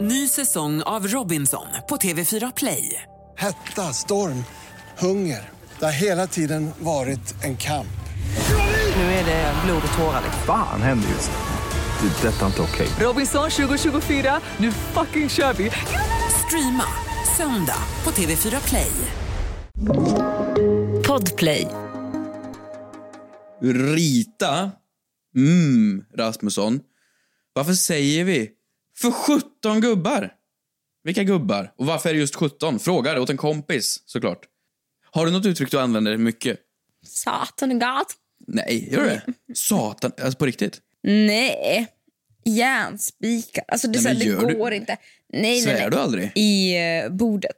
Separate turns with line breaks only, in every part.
Ny säsong av Robinson på TV4 Play.
Hetta, storm, hunger. Det har hela tiden varit en kamp.
Nu är det blod och tårar. liksom.
Fan händer just nu. Det. är Detta är inte okej.
Robinson 2024, nu fucking kör vi! Streama söndag på TV4 Play.
Podplay.
Rita? Mm, Rasmusson. Varför säger vi för 17 gubbar? Vilka gubbar? Och varför är det just 17? Fråga det åt en kompis, såklart. Har du något uttryck du använder mycket?
Satan och gatan.
Nej, gör du det? Satan, alltså på riktigt?
Nej. Järnspikar. Alltså det, är
Nej, men
så här,
gör
det
du-
går inte. Nej, nej,
Svär
nej.
du aldrig?
I eh, bordet.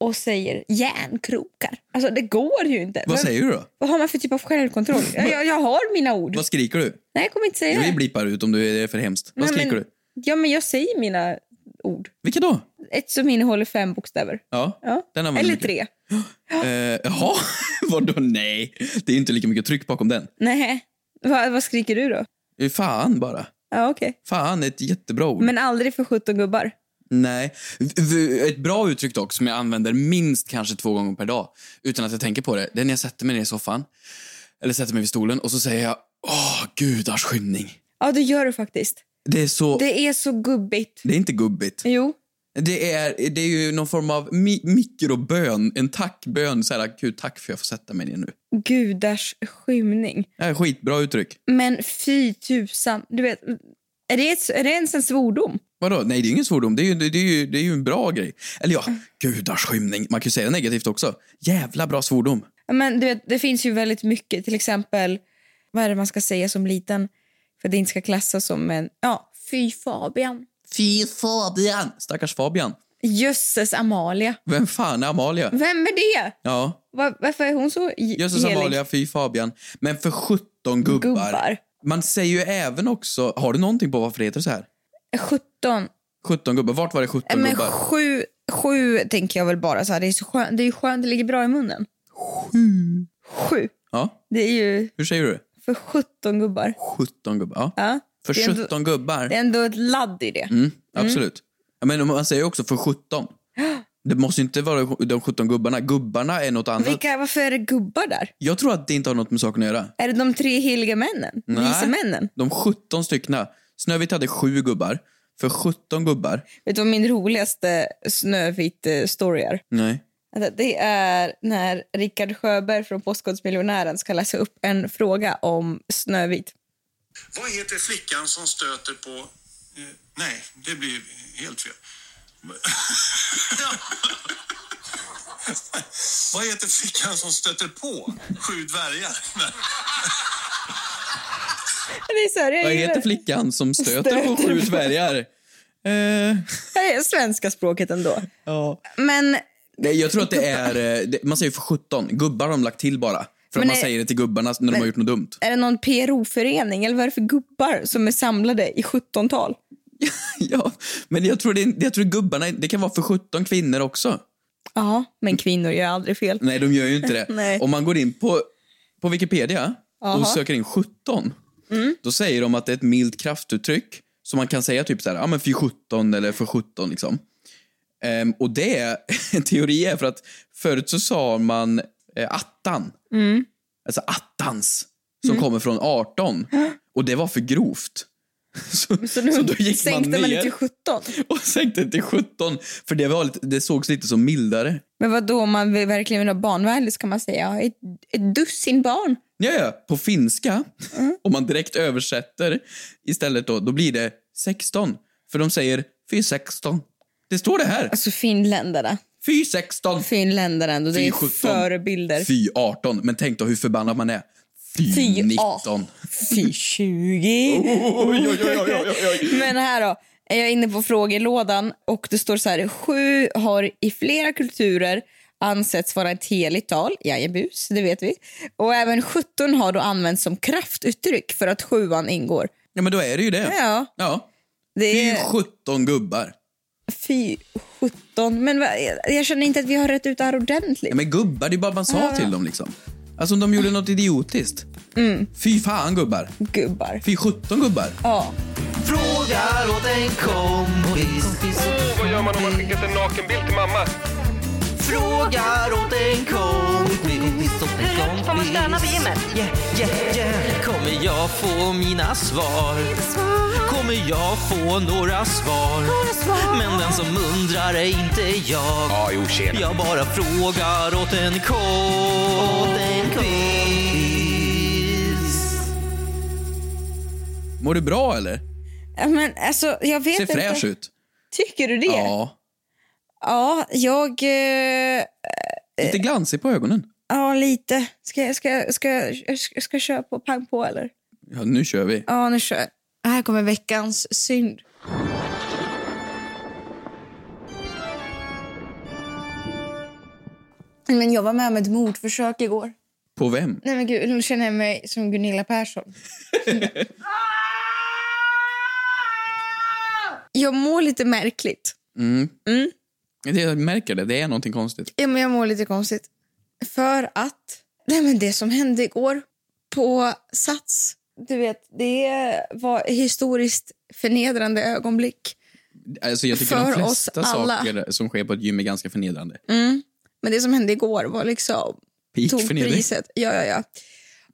Och säger järnkrokar. Alltså det går ju inte.
Vad
Vem-
säger du då?
Vad har man för typ av självkontroll? jag, jag, jag har mina ord.
Vad skriker du?
Nej, jag kommer inte säga
Vi
det.
blipar ut om du är för hemskt. Vad
Nej,
skriker
men-
du?
Ja, men jag säger mina ord.
Vilka då?
Ett som innehåller fem bokstäver.
Ja,
Ja.
den använder
Eller
mycket.
tre.
Eh, jaha, vadå nej? Det är inte lika mycket tryck bakom den.
Nej. Va, vad skriker du då?
Eh, Fan bara.
Ja, okej.
Fan är ett jättebra ord.
Men aldrig för 17 gubbar.
Nej. V- v- Ett bra uttryck dock, som jag använder minst kanske två gånger per dag, utan att jag tänker på det, det är när jag sätter mig ner i soffan, eller sätter mig vid stolen, och så säger jag Åh, gudars skymning.
Ja, det gör du faktiskt.
Det är så... Det,
Det är så gubbigt.
är inte gubbigt.
Jo.
Det är, det är ju någon form av mi- mikrobön, en tackbön. Så här, Gud, tack för jag får sätta mig ner nu.
Gudars skymning.
Det här är skitbra uttryck.
Men fy tusan. Du vet, är det, ett, är det ens en svordom?
Vadå? Nej, det är ingen svordom. Det är ju, det, det är ju, det är ju en bra grej. Eller ja, gudars skymning. Man kan ju säga negativt också. Jävla bra svordom.
Ja, Men du vet, det finns ju väldigt mycket. Till exempel, vad är det man ska säga som liten? För att det inte ska klassas som en... Ja, fy Fabian.
Fy Fabian! Stackars Fabian.
Jösses Amalia.
Vem fan är Amalia?
Vem är det?
Ja,
Var, varför är hon så j-
Jösses
helig?
Amalia, fy Fabian. Men för 17 gubbar.
Gubbar.
Man säger ju även också... Har du någonting på varför det heter så här?
17.
17 gubbar. Vart var det 17
Men
gubbar?
sju, sju tänker jag väl bara. Så här, det, är så skönt, det är ju skönt, det ligger bra i munnen. Sju. Sju.
Ja,
Det är ju
hur säger du?
för 17 gubbar.
17 gubbar. Ja.
Ja.
För
det är ändå-
17 gubbar.
Det är ändå ett ladd i det.
Mm, absolut. Ja, Men man säger ju också för 17. Det måste ju inte vara de 17 gubbarna. Gubbarna är något annat.
Vilka, varför är det gubbar där?
Jag tror att det inte har något med saken att göra.
Är det de tre heliga männen?
Nej.
Vise männen?
De 17 styckna. Snövit hade sju gubbar. För 17 gubbar.
Vet du vad min roligaste Snövit-story är?
Nej.
Alltså, Det är när Rickard Sjöberg från Postkodmiljonären ska läsa upp en fråga om Snövit.
Vad heter flickan som stöter på... Eh, nej, det blir helt fel. Vad heter flickan som stöter på sju dvärgar?
Det är så här, jag
Vad
gillar
heter
det.
flickan som stöter på
Stöter
sju
på-
dvärgar? Eh,
Det här är svenska språket ändå.
ja.
Men
Nej, jag tror att det är... eh, det- Man säger för 17. Gubbar har de lagt till bara. För att
Men
man
är-
säger det till gubbarna när de har gjort något dumt.
är det någon PRO-förening eller vad är det för gubbar som är samlade i 17-tal?
Ja, men jag tror, det, är- jag tror gubbarna... Det kan vara för 17 kvinnor också.
Ja, men kvinnor gör aldrig fel.
Nej, de gör ju inte det.
Nej.
Om man går in på, på Wikipedia
Jaha.
och söker in 17,
Mm.
då säger de att det är ett milt kraftuttryck. Så man kan säga typ så här, ja men för 17 eller för 17 liksom. Ehm, och det är en teori är för att förut så sa man eh, attan.
Mm.
Alltså attans, som kommer från 18. Och det var för grovt. Så, så,
nu
då gick man
sänkte man, det
ner
till 17.
och sänkte det till 17. För det, var lite, det sågs lite som mildare.
Men vad då om man vill- verkligen vill ha barnvänligt så kan man säga ett, ett dussin barn.
Ja, ja, på finska,
Mm.
om man direkt översätter istället då, då blir det 16. För de säger fy 16. Det står det här.
Alltså finländare.
Fy 16.
Finländare ändå, det
Fy
är
17.
förebilder.
Fy 18. Men tänk då hur förbannad man är. Fy,
Fy
19.
Fy 20.
Oj, oj, oj, oj, oj, oj.
Men här då. Jag är inne på frågelådan och det står så här. Sju har i flera kulturer ansetts vara ett heligt tal. Jajebus, det vet vi. Och även 17 har då använts som kraftuttryck för att sjuan ingår.
Ja, men då är det ju det.
Ja,
Ja.
det
Fy
är
17 gubbar.
fy 17. Men va, jag känner inte att vi har rätt ut det här ordentligt.
Ja, men gubbar, det är bara vad man sa till dem liksom. Alltså om de gjorde något idiotiskt.
Mm.
Fy fan gubbar.
Gubbar.
Fy 17 gubbar.
Ja.
Frågar åt en kompis. man om man skickat en nakenbild till mamma?
Frågar åt en kompis, åt en kompis.
Får man stöna på gymmet?
Yeah, yeah, yeah. Kommer jag få mina svar? Kommer jag få några svar? Men den som undrar är inte jag.
Ja, jo, tjena.
Jag bara frågar åt en kompis.
Mår du bra eller?
Ja, Men alltså, jag vet
Ser
inte.
fräsch ut.
Tycker du det?
Ja.
Ja, jag... eh,
Lite glansig på ögonen.
Ja, lite. Ska jag ska, ska, ska, ska jag köra på pang på eller?
Ja, nu kör vi.
Ja, nu kör jag. Här kommer veckans synd. Men jag var med om ett mordförsök igår.
På vem?
Nej men gud, nu känner jag mig som Gunilla Persson. jag mår lite märkligt.
Mm. Det- Jag märker det, det är någonting konstigt.
Ja, men jag mår lite konstigt. För att nej, men det som hände igår på Sats, du vet, det var historiskt förnedrande ögonblick.
Alltså, jag tycker
För
de
oss
flesta
alla. Mm.
saker som sker på ett gym är ganska förnedrande.
Men det som hände igår var liksom tog
Peak-förnedring.
priset. Ja, ja, ja.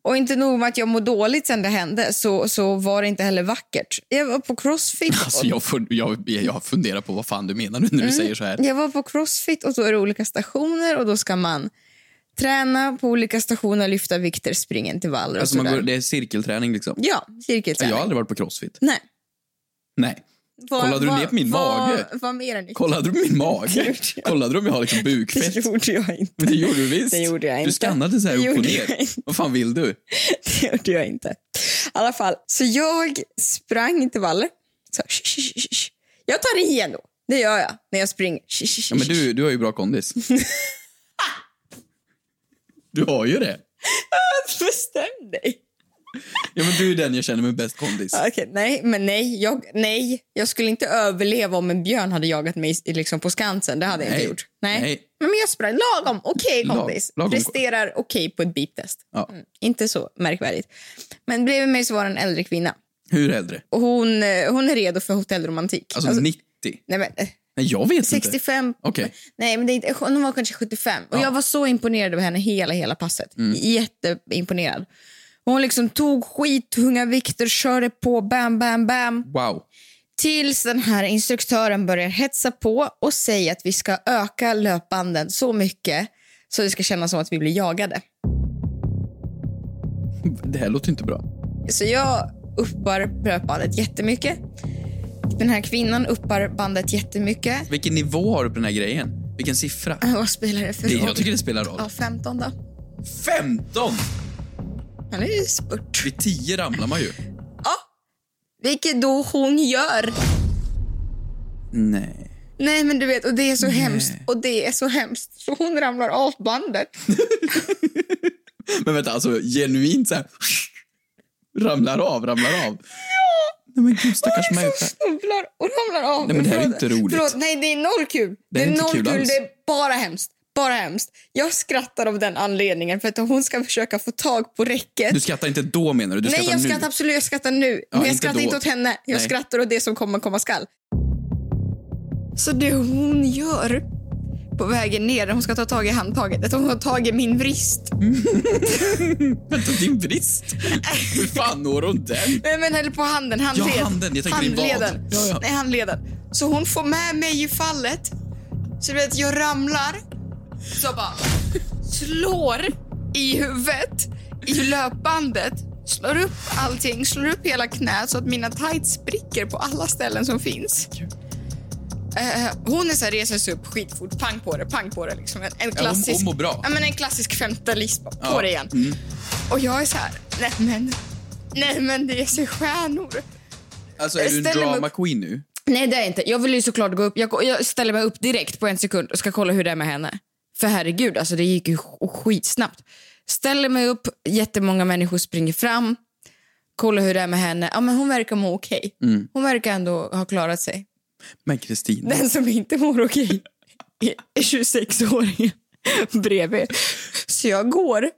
Och inte nog med att jag mår dåligt sen det hände så, så var det inte heller vackert. Jag var på crossfit.
Alltså,
och-
jag, får, jag, jag funderar på vad fan du menar nu när
Mm.
du säger så här.
Jag var på crossfit och då är det olika stationer och då ska man träna på olika stationer, lyfta vikter, springa intervaller och
Alltså, man
sådär.
går, det är cirkelträning liksom.
Ja, cirkelträning.
Jag har aldrig varit på crossfit.
Nej.
Nej.
Vad-
Kollade du
vad-
ner på min
vad-
mage?
Vad mer än
Kollade du min mage?
Gud, ja.
Kollade du om jag har liksom bukfett?
Det gjorde jag inte.
Men det gjorde du visst.
Det gjorde jag
Du
inte.
skannade så här
Det
upp och
gjorde jag
ner.
inte.
Vad fan vill du?
Det gjorde jag inte. I alla fall, så jag sprang intervaller. Så, sh, sh, sh, sh. Jag tar i ändå. Det gör jag när jag springer. Sh, sh, sh,
Ja, men du, du har ju bra kondis. Du har ju det.
sh. Bestäm dig.
Ja, men du är den jag känner med bäst kondis.
Okej, nej, men nej jag, nej. Jag skulle inte överleva om en björn hade jagat mig i- liksom på Skansen. Det hade jag
Nej,
inte gjort. Nej.
nej.
Men jag sprang lagom. Okej,
Lag-
kompis.
lagom.
Presterar okej på ett beep-test.
Ja.
Mm, inte så märkvärdigt. Men bredvid mig så var det en äldre kvinna.
Hur äldre?
Och hon, eh, hon är redo för hotellromantik.
Alltså,
Alltså,
90?
nej, men, eh,
Nej, jag vet inte.
65.
Okej.
Nej, men det är inte, hon var kanske 75. Och Jag var så imponerad över henne hela hela passet.
Mm.
Jätteimponerad. Hon liksom tog skit, tunga vikter, körde på, bam, bam, bam.
Wow.
Tills den här instruktören börjar hetsa på och säger att vi ska öka löpbanden så mycket så det ska kännas som att vi blir jagade.
Det här låter inte bra.
Så jag uppar löpbandet jättemycket. Den här kvinnan uppar bandet jättemycket.
Vilken nivå har du på den här grejen? Vilken siffra?
Vad spelar det för
Det,
roll?
jag tycker det spelar roll.
Äh, Ja, 15 då.
15!
Han är ju spurt.
Vid 10 ramlar man ju.
Vilket då hon gör.
Nej.
Nej men du vet, och det är så hemskt. Och det är så hemskt. Så hon ramlar av bandet.
Men vänta, alltså genuint så här... Ramlar av, ramlar av. Ja! Nej men gud, stackars människa.
Snubblar och ramlar av.
Nej, men det här är
Förlåt,
inte roligt.
Förlåt, nej det är noll kul.
Det är inte
noll
kul alls.
det är bara hemskt. Bara hemskt. Jag skrattar av den anledningen för att hon ska försöka få tag på räcket.
Du skrattar inte då menar du? du
nej jag
nu.
skrattar absolut, jag skrattar nu.
Ja,
men jag
inte
skrattar
då.
inte åt henne. Jag
Nej.
skrattar åt det som kommer komma skall. Så det hon gör på vägen ner, hon ska ta tag i handtaget, att hon tar tag i min vrist.
Vänta, din brist? Hur fan når hon den?
Nej men höll på handen, handled.
Ja, handen. Jag tänkte din vad.
handleden.
Ja, ja.
Nej, handleden. Så hon får med mig i fallet. Så du vet, jag ramlar. Så bara slår i huvudet, i löpbandet. Slår upp allting, slår upp hela knät så att mina tights spricker på alla ställen som finns. Eh, hon är så här, reser sig upp skitfort, pang på det, pang på det. Liksom. En, en
hon-
klassisk,
hon mår bra.
Ja, men en klassisk femtalist, bara, på
Ja.
det igen. Och jag är så här, nej men, nej men det är så stjärnor.
Alltså är du en
Ställ mig
drama
upp.
queen nu?
Nej, det är jag inte. Jag vill ju såklart gå upp. Jag, går- jag ställer mig upp direkt på en sekund och ska kolla hur det är med henne. För herregud, alltså det gick ju sk- skitsnabbt. Ställer mig upp, jättemånga människor springer fram. Kollar hur det är med henne. Ja, men hon verkar må okej. Hon verkar ändå ha klarat sig.
Men Kristina,
Den som inte mår okej är 26-åringen bredvid. Så jag går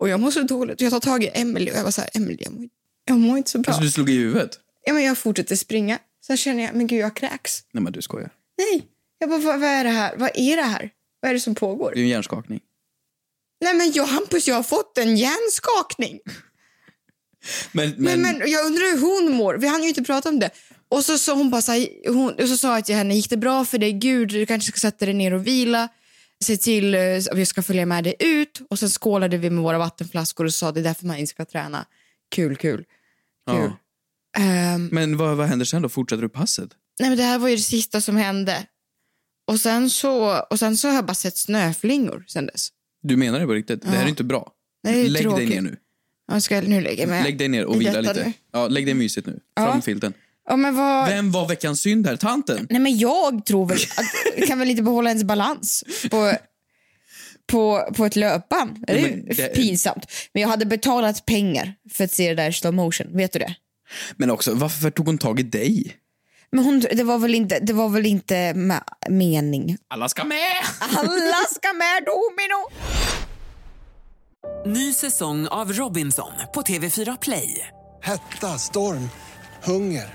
och jag mår så dåligt. Jag tar tag i Emelie och jag var så här, Emelie, jag mår, jag mår inte så bra.
alltså du slog i huvudet?
ja, men jag fortsätter springa. Sen känner jag, men gud, jag kräks.
Nej men du skojar.
Nej, Jag bara, vad, vad är det här? Vad är det här? Vad är det som pågår?
Det är ju en hjärnskakning.
Nej men jag, Hampus, jag har fått en hjärnskakning.
Men,
Men,
men,
men, jag undrar hur hon mår. Vi hann ju inte prata om det. Och så sa hon bara så här, hon, och så sa jag till henne, gick det bra för dig? Gud, du kanske ska sätta dig ner och vila. Se till eh, att jag ska följa med dig ut. Och sen skålade vi med våra vattenflaskor och sa det är därför man inte ska träna. Kul, kul.
ja.
kul. Ehm,
men vad, vad händer sen då? Fortsätter du passet?
nej men det här var ju det sista som hände. Och sen så, och sen så har jag bara sett snöflingor sen dess.
Du menar det på riktigt? Det här är
Ja.
inte bra.
Nej, det är
Lägg
tråkigt.
dig ner nu.
Jag ska nu lägga mig.
Lägg dig ner och
i
vila
detta
lite.
nu.
Ja, lägg dig mysigt nu. Fram
Ja.
filten.
Ja, men vad...
Vem var veckans synd här? Tanten?
Nej, men jag tror väl att kan väl inte behålla ens balans på, på, på ett löpband. Det är
Nej,
ju
men det-
pinsamt. Men jag hade betalat pengar för att se det där i slow motion. Vet du det?
Men också, varför tog hon tag i dig?
Men hon, det var väl inte, det var väl inte ma- mening.
Alla ska med!
Alla ska med domino!
Ny säsong av Robinson på TV4 Play.
Hetta, storm, hunger.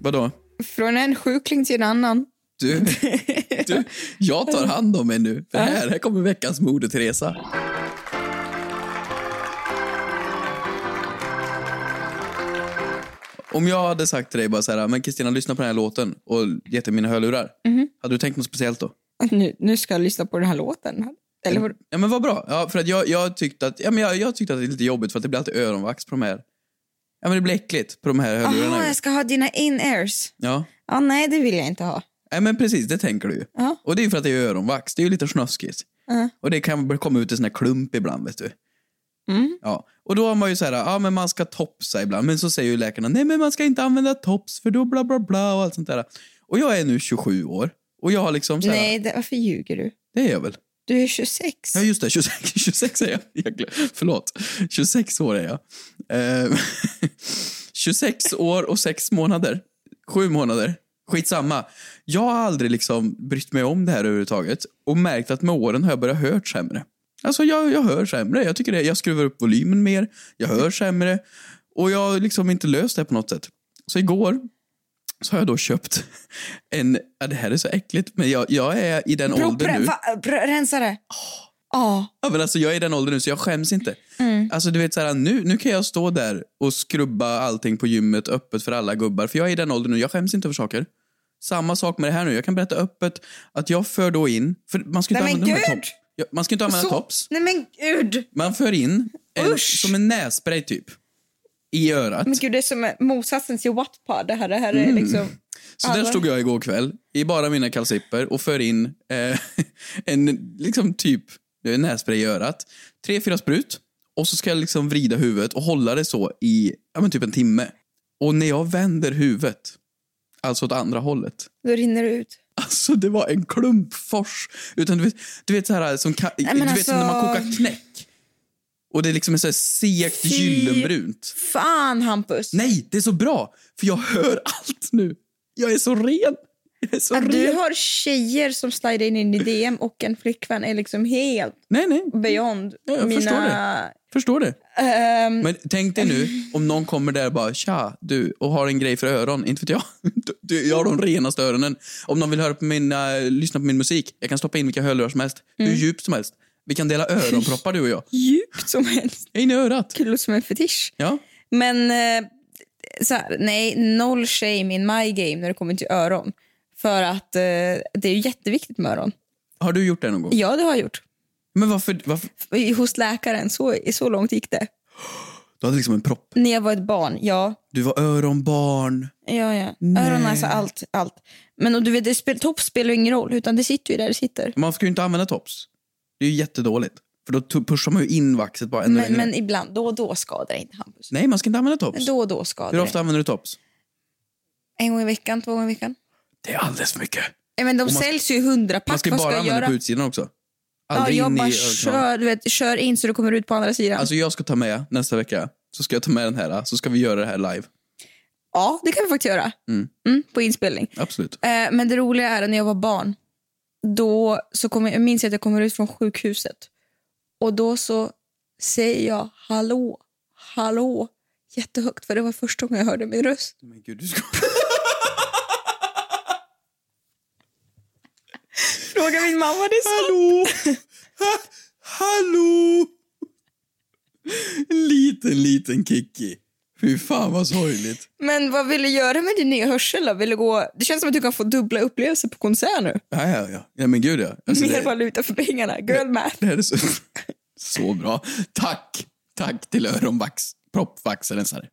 Vadå?
Från en sjukling till en annan.
Du, du, jag tar hand om er nu. För här, här kommer veckans Moder Teresa. Om jag hade sagt till dig bara så här, men Kristina lyssna på den här låten och gett dig mina hörlurar.
Mhm.
Hade du tänkt något speciellt då?
Nu, nu ska jag lyssna på den här låten. Eller vad?
Ja men vad bra. Ja, för att jag, jag, tyckte att, ja, men jag, jag tyckte att det är lite jobbigt för att det blir alltid öronvax på de här. Ja men det blir äckligt på de här hörlurarna.
Jaha,
ju.
jag ska ha dina in-airs.
Ja.
Ja, nej, det vill jag inte ha.
Nej men precis, det tänker du ju.
Ja.
Och det är ju för att det är öronvax, det är ju lite snuskigt.
Ja.
Och det kan väl komma ut i sån här klump ibland vet du.
Mm.
Ja. Och då har man ju så här, ja men man ska topsa ibland, men så säger ju läkarna, nej men man ska inte använda tops för då bla bla bla och allt sånt där. Och jag är nu 27 år och jag har liksom så här,
Nej, det, varför ljuger du?
det är jag väl.
Du är 26.
Ja just det, 26, 26 är jag. jag glö- förlåt, 26 år är jag. Ehm, 26 år och 6 månader. 7 månader. Skitsamma. Jag har aldrig liksom brytt mig om det här överhuvudtaget och märkt att med åren har jag börjat hört sämre. Alltså jag, jag hör sämre. Jag, tycker det, jag skruvar upp volymen mer, jag hör sämre och jag har liksom inte löst det på något sätt. Så igår så har jag då köpt en, ja, det här är så äckligt, men jag, jag är i den åldern
Pro-
nu.
va- pr- rensa det. Ah. Ja.
Ja, men alltså, jag är i den åldern nu så jag skäms inte.
Mm.
Alltså, du vet, så här, nu, nu kan jag stå där och skrubba allting på gymmet öppet för alla gubbar. För jag är i den åldern nu, jag skäms inte för saker. Samma sak med det här nu. Jag kan berätta öppet att jag för då in... För man ska ju inte
Nej, men
använda de här
gud!
tops. Ja, Man ska ju inte använda
Så-
tops.
Nej men gud.
Man för in en,
Usch!
som en nässpray typ. I örat.
Men gud, det är som motsatsen till Wattpad. Det här, det här
Mm.
är liksom...
Så där
Alla-
stod jag igår kväll i bara mina kalsipper och för in eh, en liksom typ eh, nässpray i örat. Tre, fyra sprut och så ska jag liksom vrida huvudet och hålla det så i ja, men typ en timme. Och när jag vänder huvudet, alltså åt andra hållet,
Då rinner det ut.
alltså det var en klumpfors. Utan du vet, du vet så här eh, som, ka-
men
du vet,
alltså-
som när man kokar knäck. Och det är liksom är så här segt
Fy-
gyllenbrunt.
Fan Hampus.
Nej, det är så bra! För jag hör allt nu. Jag är så ren. Jag är så
Att
ren.
du har tjejer som slider in i DM och en flickvän är liksom helt
Nej, nej.
beyond
Ja, jag
mina...
förstår Förstår det.
Ehm,
Men tänk dig nu om någon kommer där och bara tja, du, och har en grej för öron. Inte vet jag. Du, du, jag har de renaste öronen. Om någon vill höra på min, eh, lyssna på min musik, jag kan stoppa in vilka hörlurar som helst. Hur djupt som helst. Vi kan dela öronproppar du och jag.
Djupt som helst.
Jag är inne i örat.
Kul som en fetisch.
Ja.
Men eh, så här, nej, noll shame in my game när det kommer till öron. För att eh, det är ju jätteviktigt med öron.
Har du gjort det någon gång?
Ja, det har jag gjort.
Men varför, varför?
Hos läkaren, så, så långt gick det.
Du hade liksom en propp.
När jag var ett barn, ja.
Du var öronbarn.
Ja, ja.
Nej.
Öron, alltså allt. allt. Men och du vet, det spel, topp spelar ju ingen roll, utan det sitter ju där det sitter.
Man ska ju inte använda tops. Det är ju jättedåligt. För då tu- pushar man ju in vaxet bara ännu
Men,
längre.
men ibland, då och då skadar det inte Hampus.
Nej, man ska inte använda
Men
tops.
då och då skadar
Hur
det.
ofta använder du tops?
En gång i veckan, två gånger i veckan.
Det är alldeles för mycket.
Ja, Men de
Och man-
säljs ju i hundra
Man
pack.
ska ju
Vad
bara
ska jag
använda
göra?
på utsidan också.
Ja,
Aldrig
jag
in
bara
i öronknölarna.
kör, du vet, kör in så du kommer ut på andra sidan.
Alltså jag ska ta med nästa vecka. Så ska jag ta med den här. Så ska vi göra det här live.
Ja, det kan vi faktiskt göra.
Mm.
Mm, på inspelning.
Absolut.
Eh, men det roliga är att när jag var barn, då så kom jag, jag minns jag att jag kommer ut från sjukhuset. Och då så säger jag hallå, hallå, jättehögt för det var första gången jag hörde min röst.
Men gud, du ska...
Fråga min mamma, det är
Hallå! Hallå! Liten, liten Kiki. Fy fan vad sorgligt.
Men vad vill du göra med din nya hörsel då? Vill du gå... Det känns som att du kan få dubbla upplevelser på konsert nu.
Ja, ja, ja. ja men gud ja. Alltså,
Mer
det,
valuta för pengarna. Girl math.
det här är så, så bra. Tack! Tack till öronvax. Proppvaxrensare.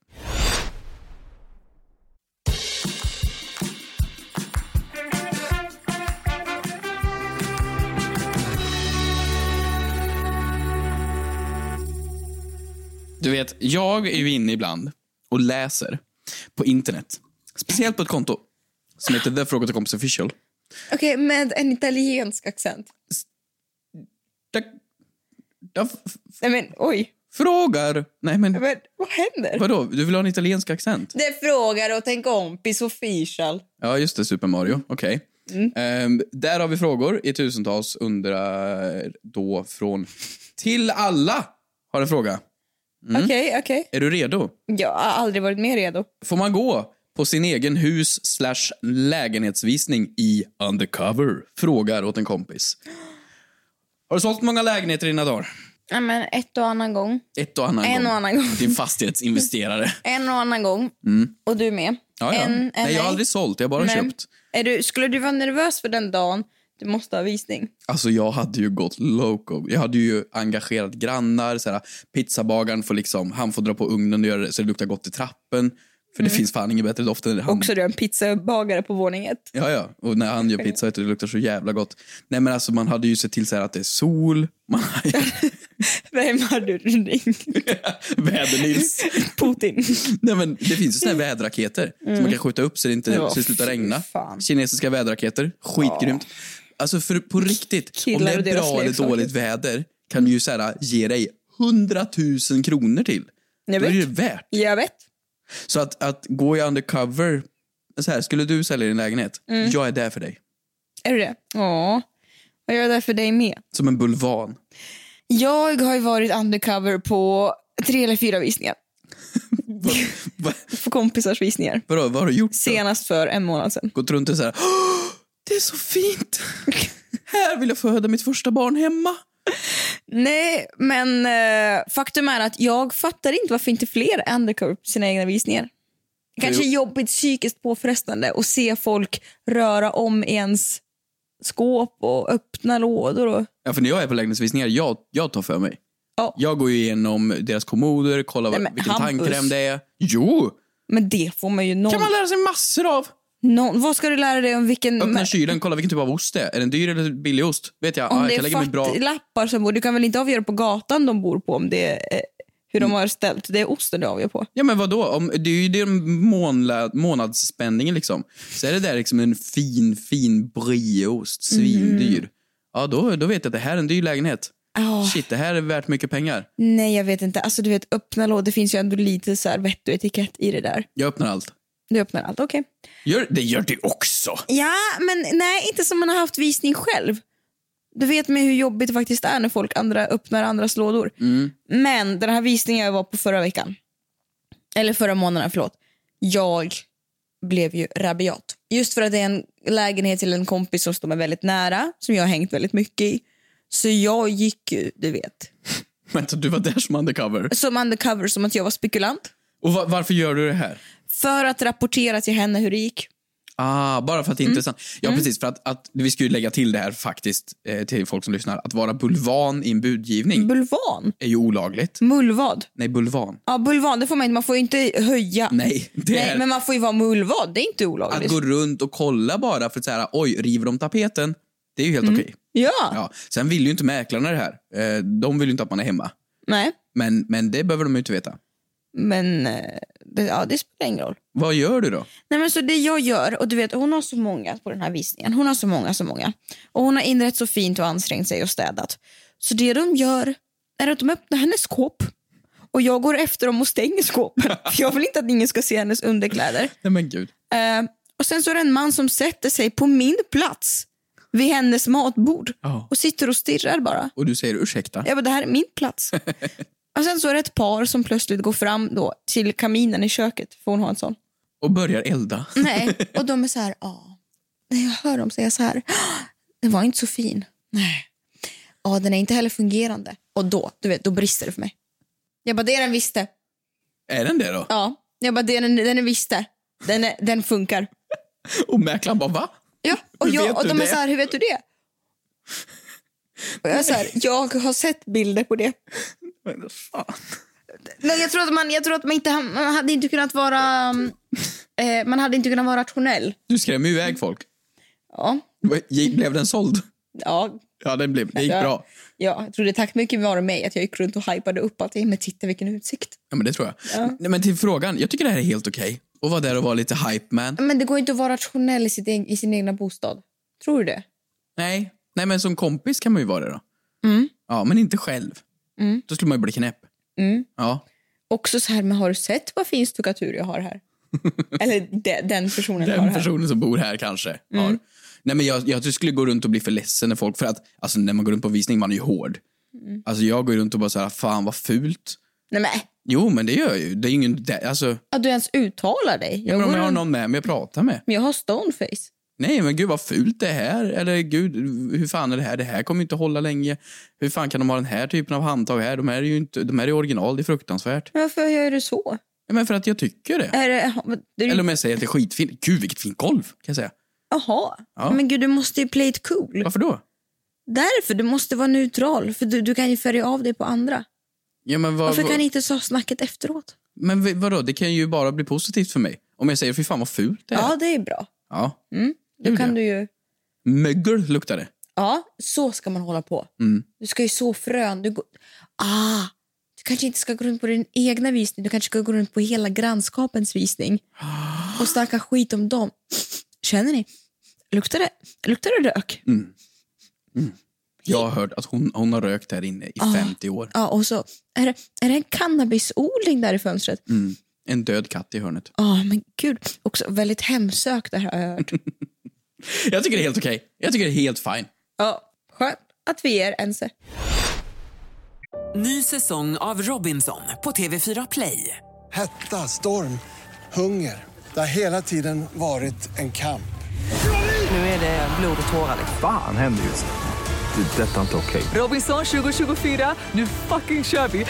Du vet, jag är ju inne ibland och läser på internet. Speciellt på ett konto som heter The Fråga till Kompis Official.
Okej, med en italiensk accent.
Jag f-
Nej men oj,
frågar... Nej, men
men, vad händer?
vadå? Du vill ha en italiensk accent?
Det frågar åt en kompis official.
Ja, just det. Super Mario. Okej.
Mm.
Ehm, där har vi frågor i tusentals. Undrar då från... Till alla har en fråga. Mm.
Okej, okej.
Är du redo?
Jag har aldrig varit mer redo.
Får man gå på sin egen hus slash lägenhetsvisning i undercover? Frågar åt en kompis. Har du sålt många lägenheter i dina dagar?
Ja, men ett och annan gång.
Ett och annan
En
gång.
och annan gång.
Din fastighetsinvesterare.
En och annan gång.
Mm.
Och du med.
Ja, ja.
En, en
nej, jag har aldrig sålt, jag har bara
Nej.
köpt.
Är du, skulle du vara nervös för den dagen du måste ha visning?
Alltså jag hade ju gått loco. Jag hade ju engagerat grannar. Såhär, pizzabagaren får liksom, han får dra på ugnen och göra det, så det luktar gott i trappen. För det
Mm.
finns fan inget bättre doft än han.
Också du är en pizzabagare på våning ett.
Ja, ja. Och när han gör pizza vet du, det luktar så jävla gott. Nej men alltså man hade ju sett till så att det är sol. Man har ju
Vem har du ringt?
väder-Nils.
Putin.
Nej men det finns ju såna här väderraketer
Mm.
som man kan skjuta upp så det inte
Ja,
så det slutar
fy
regna.
fan.
Kinesiska väderraketer. Skitgrymt. Alltså för, på riktigt,
Killar
om
och
det är
deras
bra eller
leksaker.
dåligt väder kan du ju så här, ge dig 100 000 kronor till.
Jag
Då är det
vet.
värt.
Jag vet.
Så att, att gå i undercover, så här, skulle du sälja din lägenhet,
Mm.
jag är där för dig.
Är du det? Ja. Och jag är där för dig med.
Som en bulvan.
Jag har ju varit undercover på tre eller fyra visningar. på kompisars visningar.
Vadå, vad har du gjort? då?
Senast för en månad sedan.
Gått runt och så här, "Åh, det är så fint! här vill jag föda mitt första barn hemma.
Nej, men eh, faktum är att jag fattar inte varför inte fler är undercover på sina egna visningar. Det kanske är jobbigt psykiskt påfrestande att se folk röra om i ens skåp och öppna lådor. Och...
Ja, för när jag är på lägenhetsvisningar, jag, jag tar för mig.
Ja.
Jag går ju igenom deras kommoder, kollar
Nej,
vad-
men
vilken
Hampus.
tandkräm det är. Jo!
Men det får man ju någon...
kan man lära sig massor av.
någon... Vad ska du lära dig om vilken...
Öppna kylen, kolla vilken typ av ost det är. Är den dyr eller billig ost? Vet jag.
Om
ah, jag
det
kan lägga mig
är
bra.
fattiglappar som bor, du kan väl inte avgöra på gatan de bor på om det är, eh, hur
Mm.
de har ställt. Det är osten du avgör på.
Ja, men vadå? Om, det är ju den månla, månadsspänningen liksom. Så är det där liksom en fin, fin brieost,
Mm.
svindyr. Ja, då, då vet jag att det här är en dyr lägenhet.
Ja.
Shit, det här är värt mycket pengar.
Nej, jag vet inte. Alltså du vet, öppna lådor, det finns ju ändå lite så här vett och etikett i det där.
Jag öppnar allt.
Du öppnar allt, okej.
Gör, det gör du också!
Ja, men nej, inte som man har haft visning själv. Du vet med hur jobbigt det faktiskt är när folk andra öppnar andras lådor.
Mm.
Men den här visningen jag var på förra veckan, eller förra månaden, förlåt. Jag blev ju rabiat. Just för att det är en lägenhet till en kompis som står mig väldigt nära, som jag har hängt väldigt mycket i. Så jag gick ju, du vet,
Vänta, du var där som undercover.
som undercover, som att jag var spekulant.
Och va- varför gör du det här?
För att rapportera till henne hur det gick.
Ah, bara för att det är intressant. Ja, precis. För att, att, vi ska ju lägga till det här faktiskt eh, till folk som lyssnar. Att vara bulvan i en budgivning
Bulvan?
är ju olagligt.
Mullvad?
Nej, bulvan.
Ja, bulvan, det får man inte. Man får ju inte höja.
Nej, det
Nej,
är-
men man får ju vara mullvad. Det är inte olagligt.
Att gå runt och kolla bara för att säga oj, river de tapeten? Det är ju helt okej.
Ja.
Ja. Sen vill ju inte mäklarna det här. Eh, De vill ju inte att man är hemma.
Nej,
Men, men det behöver de ju inte veta.
men eh, det, ja, det spelar ingen roll.
Vad gör du då?
Nej, men så det jag gör, och du vet hon har så många på den här visningen. Hon har så många, så många. Och hon har inrett så fint och ansträngt sig och städat. Så det de gör är att de öppnar hennes skåp. Och jag går efter dem och stänger skåpen. För jag vill inte att ingen ska se hennes underkläder.
Nej men gud.
Eh, och sen så är det en man som sätter sig på min plats vid hennes matbord.
Ja.
Och sitter och stirrar bara.
Och du säger ursäkta?
Ja, men det här är min plats. och sen så är det ett par som plötsligt går fram då till kaminen i köket, för hon har en sån.
Och börjar elda?
Nej, och de är så här, ja. När jag hör dem säga så här, "Ah, den var inte så fin. Nej. Ja, den är inte heller fungerande. Och då, du vet, då brister det för mig. Jag bara, det är den visste.
Är den det då?
Ja, jag bara, det är den, den är visste. Den, är, den funkar.
Och mäklaren bara va?
Ja, och,
Hur vet
jag, och
du
de är
det?
så här, hur vet du det? Och jag är så här, jag har sett bilder på det.
Men vad fan.
Nej, jag tror att man, jag tror att man inte man hade inte kunnat vara mm, eh, man hade inte kunnat vara rationell.
Du skrämmer ju iväg folk.
Ja,
Vad- gick- Blev den såld?
ja,
Ja, den blev, det gick bra.
ja jag tror det är tack mycket vare mig att jag gick runt och hypade upp att men titta vilken utsikt.
Ja, men det tror jag.
Ja.
Nej, men till frågan, jag tycker det här är helt okej. Och vara där och vara lite hype man.
Men det går inte att vara rationell i, sitt, eg- i sin egna bostad. Tror du det?
Nej. Nej, men som kompis kan man ju vara det då.
Mm.
Ja, men inte själv.
Mm.
Då skulle man ju bli knäpp.
Mm.
Ja.
Också så här, men har du sett vad fin stuckatur jag har här? Eller de, den personen har
Den
här. Mm.
personen som bor här kanske har. Nej, men jag, jag skulle gå runt och bli för ledsen när folk, för att alltså, när man går runt på visning, man är ju hård.
Mm.
Alltså jag går runt och bara så här, fan vad fult.
Nej men,
Jo, men det gör jag ju. Det är ju ingen, det, alltså,
att du ens uttalar dig.
jag men om
går
jag har
runt-
någon med mig att prata med.
men jag har stoneface.
Nej, men gud vad fult det här. Eller gud, hur fan är det här? Det här kommer ju inte hålla länge. Hur fan kan de ha den här typen av handtag här? De här är ju inte, de här är original, det är fruktansvärt.
Men varför gör du så?
Ja, men för att jag tycker det.
Är det, det är
Eller om jag säger att det är skitfint. Gud, vilket fint golv, kan jag säga.
Jaha.
Ja.
Men gud, du måste ju play it cool.
Varför då?
Därför, du måste vara neutral. För du, du kan ju färga av dig på andra.
Ja, men vad,
Varför
vad,
kan ni inte ta snacket efteråt?
Men v- vadå, det kan ju bara bli positivt för mig. Om jag säger fy fan vad fult det är.
Ja, det är bra.
Ja.
Mm.
Det
Då
vill
kan
jag.
du ju...
Mögel luktar det.
Ja, så ska man hålla på.
Mm.
Du ska ju så frön. Du, går... ah, du kanske inte ska gå runt på din egna visning. Du kanske ska gå runt på hela grannskapens visning och snacka skit om dem. Känner ni? Luktar det, luktar det rök?
Mm. Jag har hört att hon, hon har rökt där inne i
Ah.
50 år.
Ja, och så är det, är det en cannabisodling där i fönstret.
Mm. En död katt i hörnet.
Ja, men gud. Också väldigt hemsökt det här har jag hört.
Jag tycker det är helt okej. Jag tycker det är helt fine.
Ja, skönt att vi är ense.
Ny säsong av Robinson på TV4 Play.
Hetta, storm, hunger. Det har hela tiden varit en kamp.
Nu är det blod och tårar. liksom.
Fan händer just det. Det är detta inte okej.
Robinson 2024, nu fucking kör vi!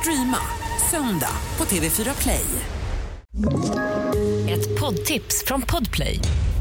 Streama söndag på TV4 Play.
Ett poddtips från Podplay.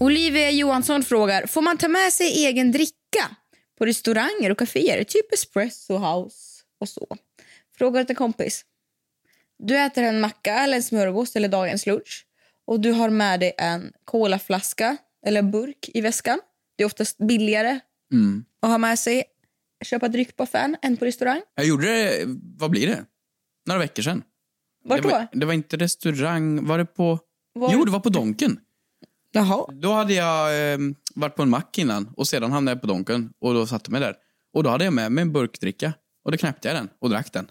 Olivia Johansson frågar, får man ta med sig egen dricka på restauranger och kaféer? Typ espresso house och så. Frågar till kompis. Du äter en macka eller en smörgås eller dagens lunch och du har med dig en colaflaska eller en burk i väskan. Det är oftast billigare
Mm.
att ha med sig köpa dryck på affären än på restaurang.
Jag gjorde det, vad blir det? Några veckor sedan.
Vart
det
då?
var, Det var inte restaurang, var det på...
Var-
Jo, det var på Donken.
Jaha.
Då hade jag eh, varit på en mack innan och sedan hamnade jag på Donken och då satte jag mig där. Och då hade jag med mig en burkdricka. Och då knäppte jag den och drack den.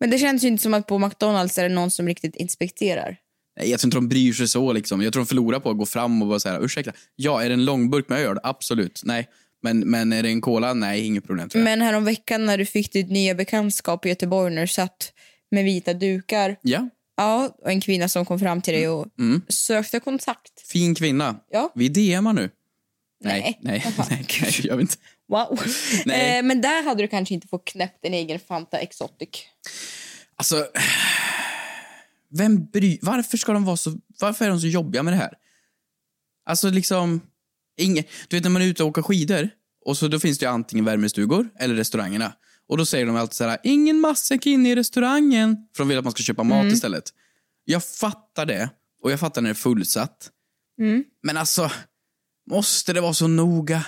Men det känns ju inte som att på McDonalds är det någon som riktigt inspekterar.
Nej, jag tror inte de bryr sig så. Liksom. Jag tror de förlorar på att gå fram och bara säga ursäkta. Ja, är det en långburk med öl? Absolut. Nej. Men, men är det en cola? Nej, inget problem. Tror jag.
Men häromveckan när du fick ditt nya bekantskap i Göteborg när du satt med vita dukar.
Ja.
Ja, och en kvinna som kom fram till dig och
Mm.
sökte kontakt.
Fin kvinna.
Ja.
Vi DMar nu.
Nej.
Nej, nej, nej, nej det gör vi inte.
Wow.
Nej.
Eh, men där hade du kanske inte fått knäppt din egen Fanta Exotic.
Alltså, vem bry, varför ska de vara så, varför är de så jobbiga med det här? Alltså liksom, ingen, du vet när man är ute och åker skidor och så då finns det ju antingen värmestugor eller restaurangerna. Och då säger de alltid så här, ingen matsäck inne i restaurangen. För de vill att man ska köpa mat
Mm.
istället. Jag fattar det och jag fattar när det är fullsatt.
Mm.
Men alltså, måste det vara så noga?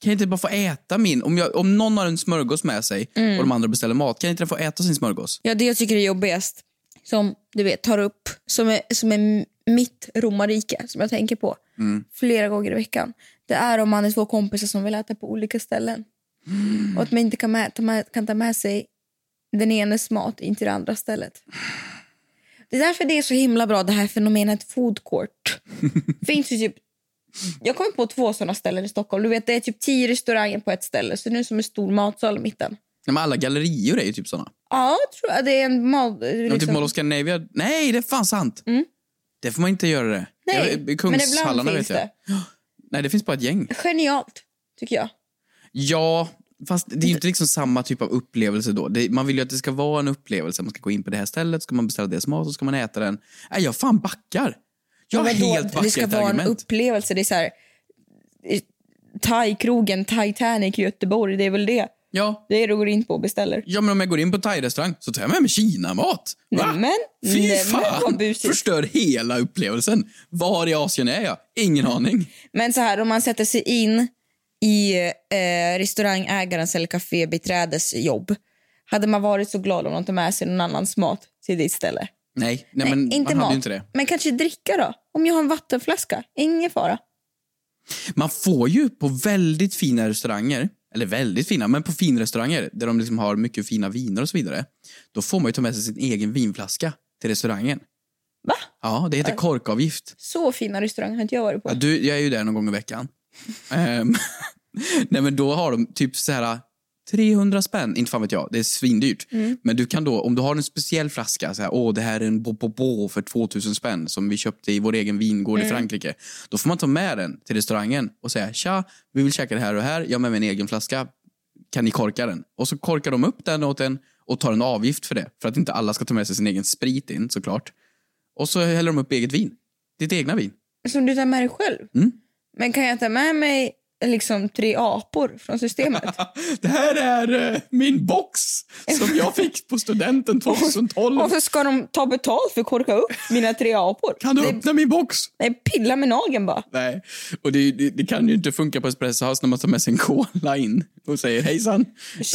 Kan jag inte bara få äta min? Om, jag, om någon har en smörgås med sig
Mm.
och de andra beställer mat, kan jag inte den få äta sin smörgås?
Ja, det jag tycker är jobbigast, som du vet tar upp, som är, som är mitt romarrike som jag tänker på
Mm.
flera gånger i veckan. Det är om man är två kompisar som vill äta på olika ställen.
Mm.
Och att man inte kan, med, ta med, kan ta med sig den enes mat in till det andra stället. Det är därför det är så himla bra det här fenomenet food court. Finns ju typ, jag kommer på två såna ställen i Stockholm. Du vet, det är typ tio restauranger på ett ställe, så det är som en stor matsal i mitten.
Nej, men alla gallerior är ju typ såna.
Ja, jag tror jag. Det är en mat...
Liksom... Typ Mall of Scandinavia. Nej, det är fan sant! Det får man inte göra det.
Mm. Nej,
jag,
men ibland
Kungshallarna
finns
vet jag.
det.
Nej, det finns bara ett gäng.
Genialt, tycker jag.
Ja, fast det är ju inte liksom samma typ av upplevelse då. Det, man vill ju att det ska vara en upplevelse. Man ska gå in på det här stället, ska man beställa deras mat och ska man äta den. Nej, jag fan backar. Jag har
Men vadå,
helt
Det ska
backat
vara en
argument.
upplevelse. Det är så här... i- Thai-krogen, Titanic i Göteborg, det är väl det?
Ja.
Det är det du går in på och beställer.
Ja, men om jag går in på thai-restaurang så tar jag med mig kinamat. Va?
Nämen,
Fy
nämen, vad
fan! Förstör hela upplevelsen. Var i Asien är jag? Ingen aning.
Men så här, om man sätter sig in i eh, restaurangägarens eller kafébiträdes jobb hade man varit så glad om de tog med sig någon annans mat till ditt ställe?
Nej, nej, men
inte
man hade
mat.
ju inte det.
Men kanske dricka då? Om jag har en vattenflaska? Ingen fara.
Man får ju på väldigt fina restauranger, eller väldigt fina, men på finrestauranger där de liksom har mycket fina viner och så vidare. Då får man ju ta med sig sin egen vinflaska till restaurangen.
Va?
Ja, det heter korkavgift.
Så fina restauranger har inte jag varit på.
Ja, du, jag är ju där någon gång i veckan. Ehm, nej, men då har de typ så här 300 spänn, inte fan vet jag, det är svindyrt.
Mm.
Men du kan då, om du har en speciell flaska, så här, åh det här är en bobobo för 2000 spänn som vi köpte i vår egen vingård i
Mm.
Frankrike. Då får man ta med den till restaurangen och säga, tja, vi vill käka det här och det här, jag har med mig en egen flaska, kan ni korka den? Och så korkar de upp den åt en och tar en avgift för det, för att inte alla ska ta med sig sin egen sprit in såklart. Och så häller de upp eget vin, ditt egna vin.
Som du tar med dig själv?
Mm.
Men kan jag ta med mig liksom tre apor från systemet?
Det här är eh, min box som jag fick på studenten 2012.
Och så ska de ta betalt för att korka upp mina tre apor? Kan
du öppna min box?
Nej, pilla med nageln bara.
Nej, och det, det, det kan ju inte funka på Espresso House när man tar med sig en cola in och säger hejsan.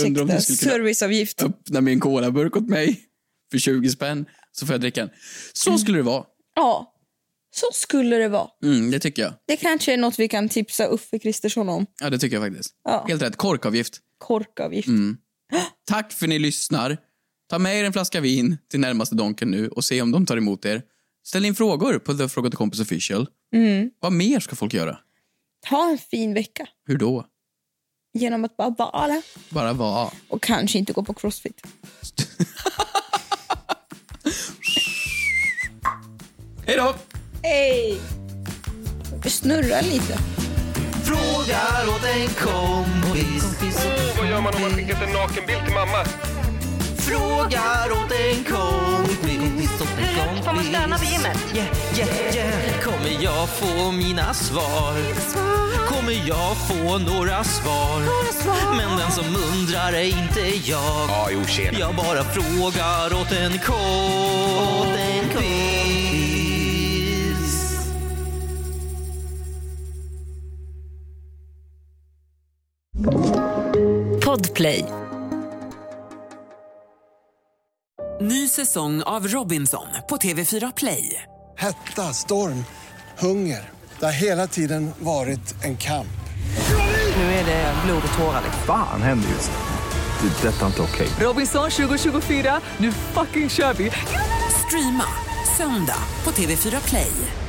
Undrar om
Ursäkta,
du skulle kunna
serviceavgift.
öppna min colaburk åt mig för 20 spänn så får jag dricka en.
Mm.
Så skulle det vara.
Ja, så skulle det vara.
Mm, det tycker jag.
Det kanske är något vi kan tipsa Uffe Kristersson om.
Ja, det tycker jag faktiskt.
Ja.
Helt rätt. Korkavgift.
Korkavgift.
Mm. Tack för ni lyssnar. Ta med er en flaska vin till närmaste Donken nu och se om de tar emot er. Ställ in frågor på The Fråga till Kompis Official.
Mm.
Vad mer ska folk göra?
Ha en fin vecka
Hur då?
genom att bara vara
Bara vara.
och kanske inte gå på crossfit.
Hej då!
Hej! Snurra lite.
Frågar åt en kompis.
Åh, vad gör man om man skickat en nakenbild till mamma?
Frågar åt en kompis. Hur får man stöna på gymmet? Yeah, yeah, yeah. Kommer jag få mina svar? Kommer jag få några svar? Men den som undrar är inte jag.
Ja, jo, tjena.
Jag bara frågar åt en kompis.
Podplay.
Ny säsong av Robinson på TV4 Play.
Hetta, storm, hunger. Det har hela tiden varit en kamp.
Nu är det blod och tårar. liksom.
Fan händer just det. Det är detta inte okej.
Robinson 2024, nu fucking kör vi! Streama söndag på TV4 Play.